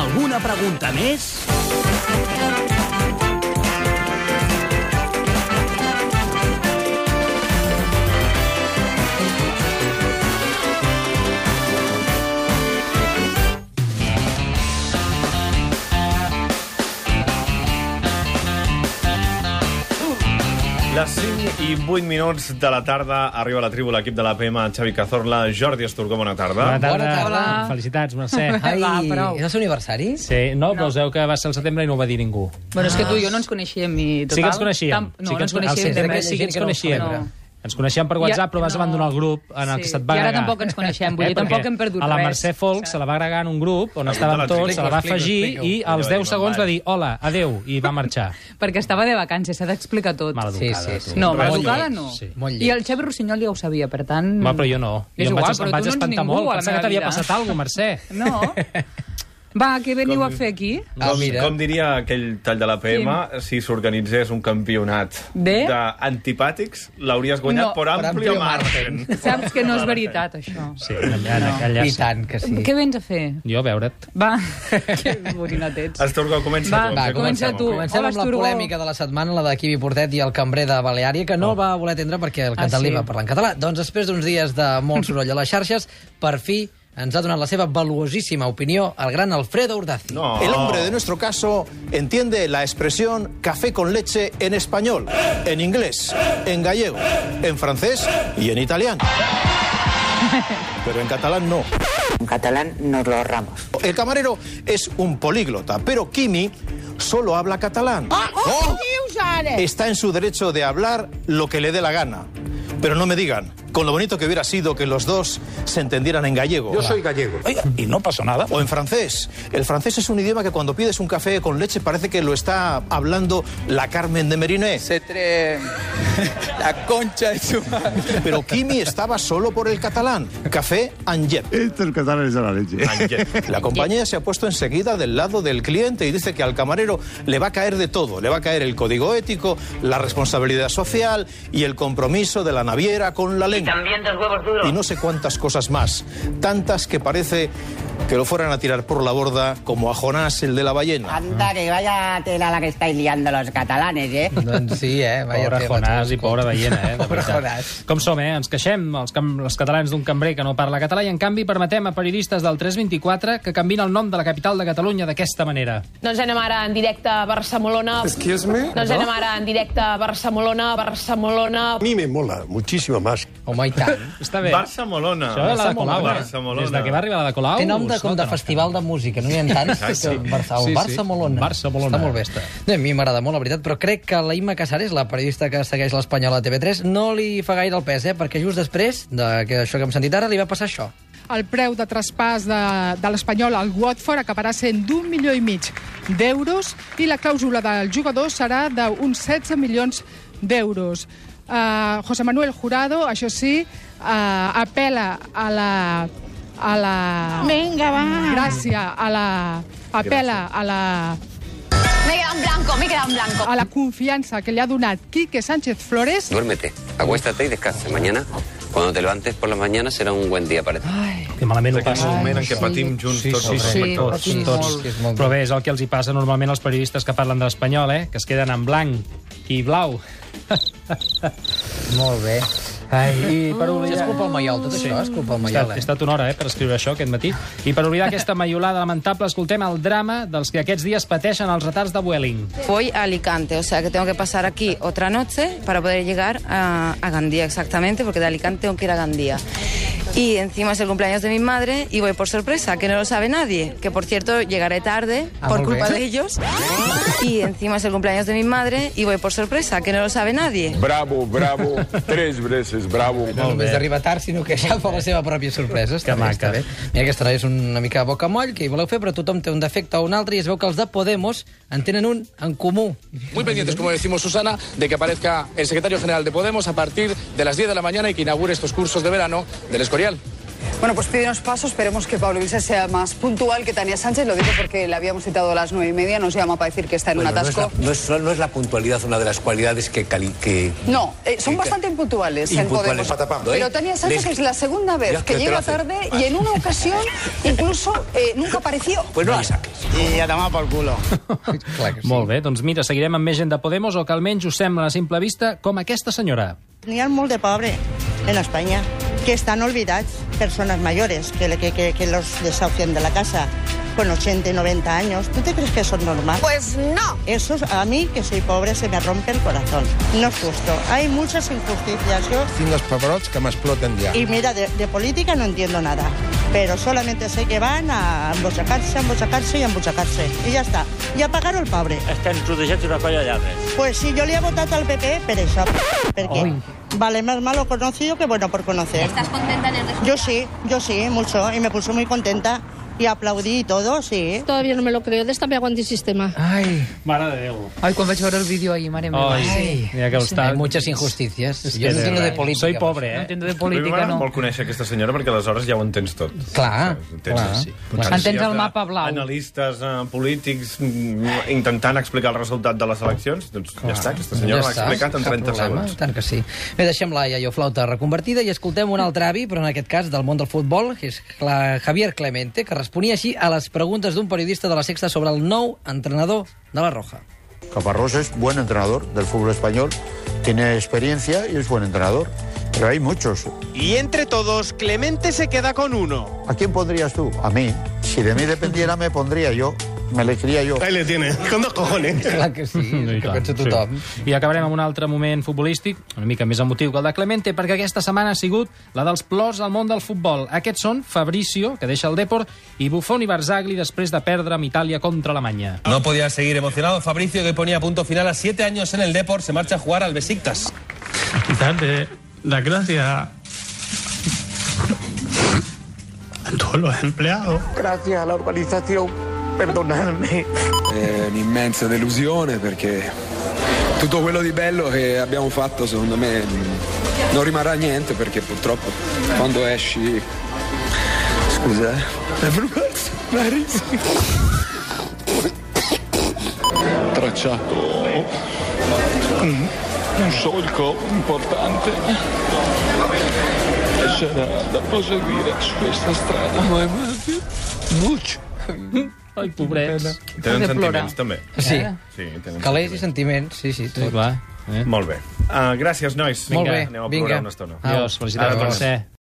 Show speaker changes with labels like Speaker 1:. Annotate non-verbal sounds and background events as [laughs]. Speaker 1: Alguna pregunta més?
Speaker 2: Les 5 i 8 minuts de la tarda arriba a la tribu l'equip de l'APM, en Xavi Cazorla, Jordi Esturgó, bona tarda.
Speaker 3: Bona tarda.
Speaker 4: Bona tarda.
Speaker 3: Felicitats,
Speaker 5: [laughs]
Speaker 3: Mercè.
Speaker 4: Ai,
Speaker 5: Va, prou.
Speaker 4: és el seu aniversari?
Speaker 3: Sí, no, però us veu que va ser el setembre i no ho va dir ningú.
Speaker 5: Bueno, és que tu i jo no ens coneixíem i total...
Speaker 3: Sí que ens coneixíem.
Speaker 5: Tam... No,
Speaker 3: sí que
Speaker 5: no ens coneixíem.
Speaker 3: Al setembre
Speaker 4: d'aquella
Speaker 3: sí que ens
Speaker 4: gent que no ho
Speaker 3: coneixíem.
Speaker 5: celebra.
Speaker 3: Ens coneixíem per WhatsApp, però abans
Speaker 5: no.
Speaker 3: no. abandonar el grup en el
Speaker 5: Sí.
Speaker 3: que se't va
Speaker 5: I ara
Speaker 3: agregar.
Speaker 5: tampoc ens coneixem, vull dir, tampoc
Speaker 3: perquè
Speaker 5: hem perdut
Speaker 3: A la
Speaker 5: res,
Speaker 3: Mercè Folk
Speaker 5: saps?
Speaker 3: se la va agregar en un grup on
Speaker 2: la
Speaker 3: estàvem tots, se la va
Speaker 4: explico,
Speaker 3: afegir
Speaker 4: explico.
Speaker 3: i als
Speaker 2: Allò
Speaker 3: 10 segons va dir hola, adeu, i va marxar.
Speaker 5: Perquè estava de vacances, s'ha d'explicar tot.
Speaker 3: Maleducada,
Speaker 4: Sí, sí,
Speaker 3: tu.
Speaker 4: sí.
Speaker 5: No,
Speaker 4: Molt
Speaker 5: maleducada
Speaker 4: lleig,
Speaker 5: no.
Speaker 3: sí.
Speaker 4: Molt lleig.
Speaker 5: I el Xavi Rossinyol ja ho sabia, per tant...
Speaker 3: Va, però jo no.
Speaker 5: És
Speaker 3: jo em
Speaker 5: igual,
Speaker 3: vaig,
Speaker 5: però
Speaker 3: em vaig
Speaker 5: tu no ets
Speaker 3: espantar
Speaker 5: ningú
Speaker 3: molt.
Speaker 5: a la
Speaker 3: Pensava
Speaker 5: meva
Speaker 3: que t'havia
Speaker 5: vida.
Speaker 3: passat alguna cosa, Mercè.
Speaker 5: [laughs] No.
Speaker 3: [laughs]
Speaker 5: Va, què veniu a fer aquí?
Speaker 4: Ah,
Speaker 2: Com,
Speaker 4: mira.
Speaker 2: com diria aquell tall de l'APM, si s'organitzés un campionat
Speaker 5: De?
Speaker 2: d'antipàtics, l'hauries guanyat
Speaker 5: No,
Speaker 2: per
Speaker 4: per
Speaker 2: ampli
Speaker 4: ampli
Speaker 2: margen.
Speaker 5: [laughs] Saps que no és veritat, això.
Speaker 3: Sí, allà, allà, allà,
Speaker 4: I
Speaker 3: sí.
Speaker 4: tant que sí.
Speaker 5: Què vens a fer?
Speaker 3: Jo a veure't. [laughs]
Speaker 5: Va, que borinat ets.
Speaker 2: Esturgó, comença
Speaker 5: Va,
Speaker 2: tu.
Speaker 4: Va,
Speaker 2: que
Speaker 5: comença
Speaker 2: comencem,
Speaker 5: tu.
Speaker 2: home.
Speaker 4: Comencem
Speaker 5: Hola,
Speaker 4: amb la
Speaker 5: Esturgó.
Speaker 4: polèmica de la setmana, la de Quivi Portet i el cambrer de Baleària, que
Speaker 3: Oh.
Speaker 4: no el va voler atendre perquè el
Speaker 5: Ah,
Speaker 4: catalí
Speaker 5: sí?
Speaker 4: va parlar en català. Doncs després d'uns dies de molt soroll a les xarxes, per fi ens ha donat la seva valuosíssima opinió el gran Alfredo Urdaci.
Speaker 2: No.
Speaker 6: El hombre de nuestro caso entiende la expresión café con leche en español, en inglés, en gallego, en francés y en italiano. Pero en catalán no.
Speaker 7: En catalán nos lo ahorramos.
Speaker 6: El camarero es un políglota, pero Kimi solo habla catalán. Oh, Está en su derecho de hablar lo que le dé la gana. Pero no me digan, con lo bonito que hubiera sido que los dos se entendieran en gallego.
Speaker 8: y no pasó nada.
Speaker 6: O en francés. El francés es un idioma que cuando pides un café con leche parece que lo está hablando la Carmen de Meriné.
Speaker 8: La concha de su madre.
Speaker 6: Pero Kimi estaba solo por el catalán. Café Anget.
Speaker 9: Estos catalanes a la leche.
Speaker 6: La compañía se ha puesto enseguida del lado del cliente y dice que al camarero le va a caer de todo. Le va a caer el código ético, la responsabilidad social y el compromiso de la naviera con la lengua.
Speaker 7: También dos huevos duros.
Speaker 6: y no sé cuántas cosas más. Tantas que parece que lo fueran a tirar por la borda como a Jonás el de la ballena.
Speaker 7: Anda, que vaya tela la que estáis liando los catalanes, ¿eh?
Speaker 4: Doncs sí, eh? Vaya
Speaker 3: Pobre
Speaker 4: tema,
Speaker 3: Jonàs
Speaker 4: tu.
Speaker 3: i pobre Veiena, eh?
Speaker 4: [laughs]
Speaker 3: de
Speaker 4: Pobre
Speaker 3: veritat.
Speaker 4: Jonàs.
Speaker 3: Com som, eh? Ens queixem, els, cam els catalans d'un cambrer que no parla català, i en canvi permetem a periodistes del 324 que canvin el nom de la capital de Catalunya d'aquesta manera.
Speaker 10: Doncs anem ara en directe a Barcelona. Excuse me? Doncs anem ara en directe a Barcelona, Barcelona.
Speaker 8: mí me mola muchísimo más.
Speaker 4: Home, i tant.
Speaker 3: Està bé.
Speaker 2: Barça Molona.
Speaker 3: Això de la de Colau,
Speaker 2: Barça
Speaker 3: eh?
Speaker 2: Molona.
Speaker 3: Des de que va arribar la de Colau...
Speaker 4: Té nom de, com
Speaker 3: escolta,
Speaker 4: de
Speaker 3: no.
Speaker 4: festival de música, no n'hi ha tants.
Speaker 2: Ah, sí.
Speaker 4: que Barça,
Speaker 3: Sí, sí.
Speaker 4: el Barça Molona.
Speaker 3: Barça Molona.
Speaker 4: Està molt bé, està. No, a mi m'agrada molt, la veritat, però crec que la Imma Casares, la periodista que segueix l'Espanyola a TV3, no li fa gaire el pes, eh? perquè just després d'això que hem sentit ara li va passar això.
Speaker 11: El preu de traspàs de, de l'Espanyol al Watford acabarà sent d'un milió i mig d'euros i la clàusula del jugador serà d'uns 16 milions d'euros. Uh, José Manuel Jurado, això sí, uh, apela a la... A la... Vinga, va! Gràcia, a la... Apela a la,
Speaker 10: Me he quedat en blanco, me he quedat en blanco.
Speaker 11: a la confiança que li ha donat Quique Sánchez Flores
Speaker 8: Duérmete, acuéstate y descansa. Mañana, cuando te levantes por la mañana, será un buen día para ti.
Speaker 3: Que malament ho
Speaker 2: Aquest
Speaker 3: passa.
Speaker 2: moment en què patim junts tots els espectadors.
Speaker 3: tots, tots.
Speaker 4: Sí, és molt
Speaker 3: Però bé, és el que els hi passa normalment als periodistes que parlen de l'espanyol, eh? Que es queden en blanc i blau.
Speaker 4: Molt bé. Ai, i per oblidar... És culpa del Maiol, tot
Speaker 3: Sí.
Speaker 4: això és culpa del
Speaker 3: He estat,
Speaker 4: Maiol.
Speaker 3: he
Speaker 4: Eh?
Speaker 3: estat una hora eh, per escriure això aquest matí. I per oblidar aquesta maiolada lamentable, escoltem el drama dels que aquests dies pateixen els retards de Vueling.
Speaker 10: Voy a Alicante, o sea que tengo que pasar aquí otra noche para poder llegar a, a Gandía exactamente, porque de Alicante tengo que ir a Gandía. Y encima es el cumpleaños de mi madre y voy por sorpresa, que no lo sabe nadie, que por cierto llegaré tarde
Speaker 4: Ah,
Speaker 10: por
Speaker 4: molt bé.
Speaker 10: culpa de ellos. Y encima es el cumpleaños de mi madre y voy por sorpresa, que no lo sabe nadie.
Speaker 8: Bravo, bravo, tres veces bravo.
Speaker 4: No només d'arribar tard, sinó que ja fa la seva pròpia sorpresa.
Speaker 3: Que
Speaker 4: Està bé,
Speaker 3: maca.
Speaker 4: està bé. Mira, aquesta noia és una mica boca moll, que hi voleu fer, però tothom té un defecte o un altre, i es veu que els de Podemos en tenen un en comú.
Speaker 8: Muy pendientes, como decimos Susana, de que aparezca el secretario general de Podemos a partir de las 10 de la mañana y que inaugure estos cursos de verano del Escorial.
Speaker 1: Bueno, pues pide unos pasos, esperemos que Pablo Iglesias sea más puntual que Tania Sánchez, lo digo porque le habíamos citado a las nueve y media, nos llama para decir que está en un
Speaker 9: Bueno,
Speaker 1: atasco.
Speaker 9: No es, la, no es- no es la puntualidad una de las cualidades que... cali- que-
Speaker 1: No, eh, son
Speaker 9: que-
Speaker 1: bastante impuntuales,
Speaker 9: Impuntuales,
Speaker 1: en
Speaker 9: está
Speaker 1: Podemos.
Speaker 9: tapando, ¿eh?
Speaker 1: Pero Tania Sánchez
Speaker 9: Les-
Speaker 1: es la segunda
Speaker 9: Ya
Speaker 1: vez
Speaker 9: es
Speaker 1: que
Speaker 9: que te lo
Speaker 1: llega
Speaker 9: hace.
Speaker 1: tarde y en una
Speaker 9: [laughs]
Speaker 1: ocasión incluso eh, nunca apareció.
Speaker 9: Pues no la saques.
Speaker 1: Y a tomar por culo.
Speaker 4: Clar que sí.
Speaker 3: Molt bé, doncs mira, seguirem amb més gent de Podemos o que almenys us sembla a simple vista com aquesta senyora.
Speaker 12: N'hi ha molt de pobre en Espanya que estan olvidats, persones mayores que, que, que, que los desahucian de la casa con 80 y 90 años. ¿Tú te crees que eso es normal? Pues no. Eso es- a mí, que soy pobre, se me rompe el corazón. No es justo. Hay muchas injusticias. Yo
Speaker 13: Tinc els pebrots que m'exploten ja.
Speaker 12: Y mira, de, de política no entiendo nada, pero solamente sé que van a embochacarse, a embochacarse y a embochacarse. Y ya está. I a pagar el pobre.
Speaker 14: Estem rodejats d'una colla lladres.
Speaker 12: Pues sí, yo le he votado al PP, pero eso, porque vale más malo conocido que bueno por conocer. ¿Estás contenta en el Yo sí, yo sí, mucho, y me puso muy contenta. Y aplaudí y todo, sí. Todavía no me lo creo, de esta me hago antisistema. Ay,
Speaker 3: Mare de Déu.
Speaker 5: Ai, quan vaig veure el vídeo ahir, mare meva.
Speaker 3: Ai, mira que ho està.
Speaker 4: Hay muchas injusticias.
Speaker 3: És
Speaker 4: Yo
Speaker 3: que
Speaker 4: no
Speaker 3: sí,
Speaker 4: entiendo de
Speaker 3: eh?
Speaker 4: política.
Speaker 3: Soy pobre, eh?
Speaker 5: No entiendo de
Speaker 2: a
Speaker 5: política,
Speaker 2: mi m'agrada
Speaker 5: no.
Speaker 2: molt conèixer aquesta senyora perquè aleshores ja ho entens tot.
Speaker 4: Clar, clar.
Speaker 2: sí.
Speaker 5: Potser Entens sí. el mapa blau.
Speaker 2: Analistes, eh, polítics, mm, intentant explicar el resultat de les eleccions. Doncs ja està, aquesta senyora l'ha
Speaker 4: està,
Speaker 2: explicat en
Speaker 4: cap
Speaker 2: 30
Speaker 4: problema,
Speaker 2: segons.
Speaker 4: Tant que sí. Bé, deixem la iaioflauta reconvertida i escoltem un altre avi, però en aquest cas del món del futbol, que és la Javier Clemente, que responia així a les preguntes d'un periodista de la Sexta sobre el nou entrenador de la Roja.
Speaker 15: Caparrós es buen entrenador del fútbol español, tiene experiencia y es buen entrenador. Pero hay muchos.
Speaker 16: Y entre todos, Clemente se queda con uno.
Speaker 15: ¿A quién pondrías tú? A mí. Si de mí dependiera, me pondría yo. Me elegiría yo.
Speaker 16: Ahí le tiene, con dos cojones.
Speaker 4: [laughs] Clar que sí,
Speaker 3: No, i
Speaker 4: que
Speaker 3: tant,
Speaker 4: pensa tothom.
Speaker 3: Sí. I acabarem amb un altre moment futbolístic, una mica més emotiu que el de Clemente, perquè aquesta setmana ha sigut la dels plors al món del futbol. Aquests són Fabricio, que deixa el Depor, i Buffon i Barzagli després de perdre amb Itàlia contra Alemanya.
Speaker 17: No podía seguir emocionado. Fabricio, que ponía punto final a siete años en el Deport, se marcha a jugar al Besiktas.
Speaker 18: darte las gracias a todos los empleados.
Speaker 19: Gracias a la organización, perdonadme.
Speaker 20: È un'immensa delusione perché tutto quello di bello che abbiamo fatto secondo me mh, non rimarrà niente perché purtroppo quando esci... Scusa, eh? Everybody's
Speaker 21: tracciato un, un solco importante e c'era da proseguire su questa strada. Ma
Speaker 4: Buig.
Speaker 3: Ai, pobrets.
Speaker 2: Tenen sentiments, també.
Speaker 4: Sí.
Speaker 2: sí tenen
Speaker 4: Calés i sentiments, sí, sí. Tot.
Speaker 3: clar.
Speaker 2: Eh? Molt bé. Uh, gràcies, nois.
Speaker 4: Molt
Speaker 2: Vinga,
Speaker 4: bé,
Speaker 2: Aneu a
Speaker 4: vinga.
Speaker 2: plorar una estona.
Speaker 4: Adiós, felicitats,
Speaker 2: Ara tornem.
Speaker 4: Mercè.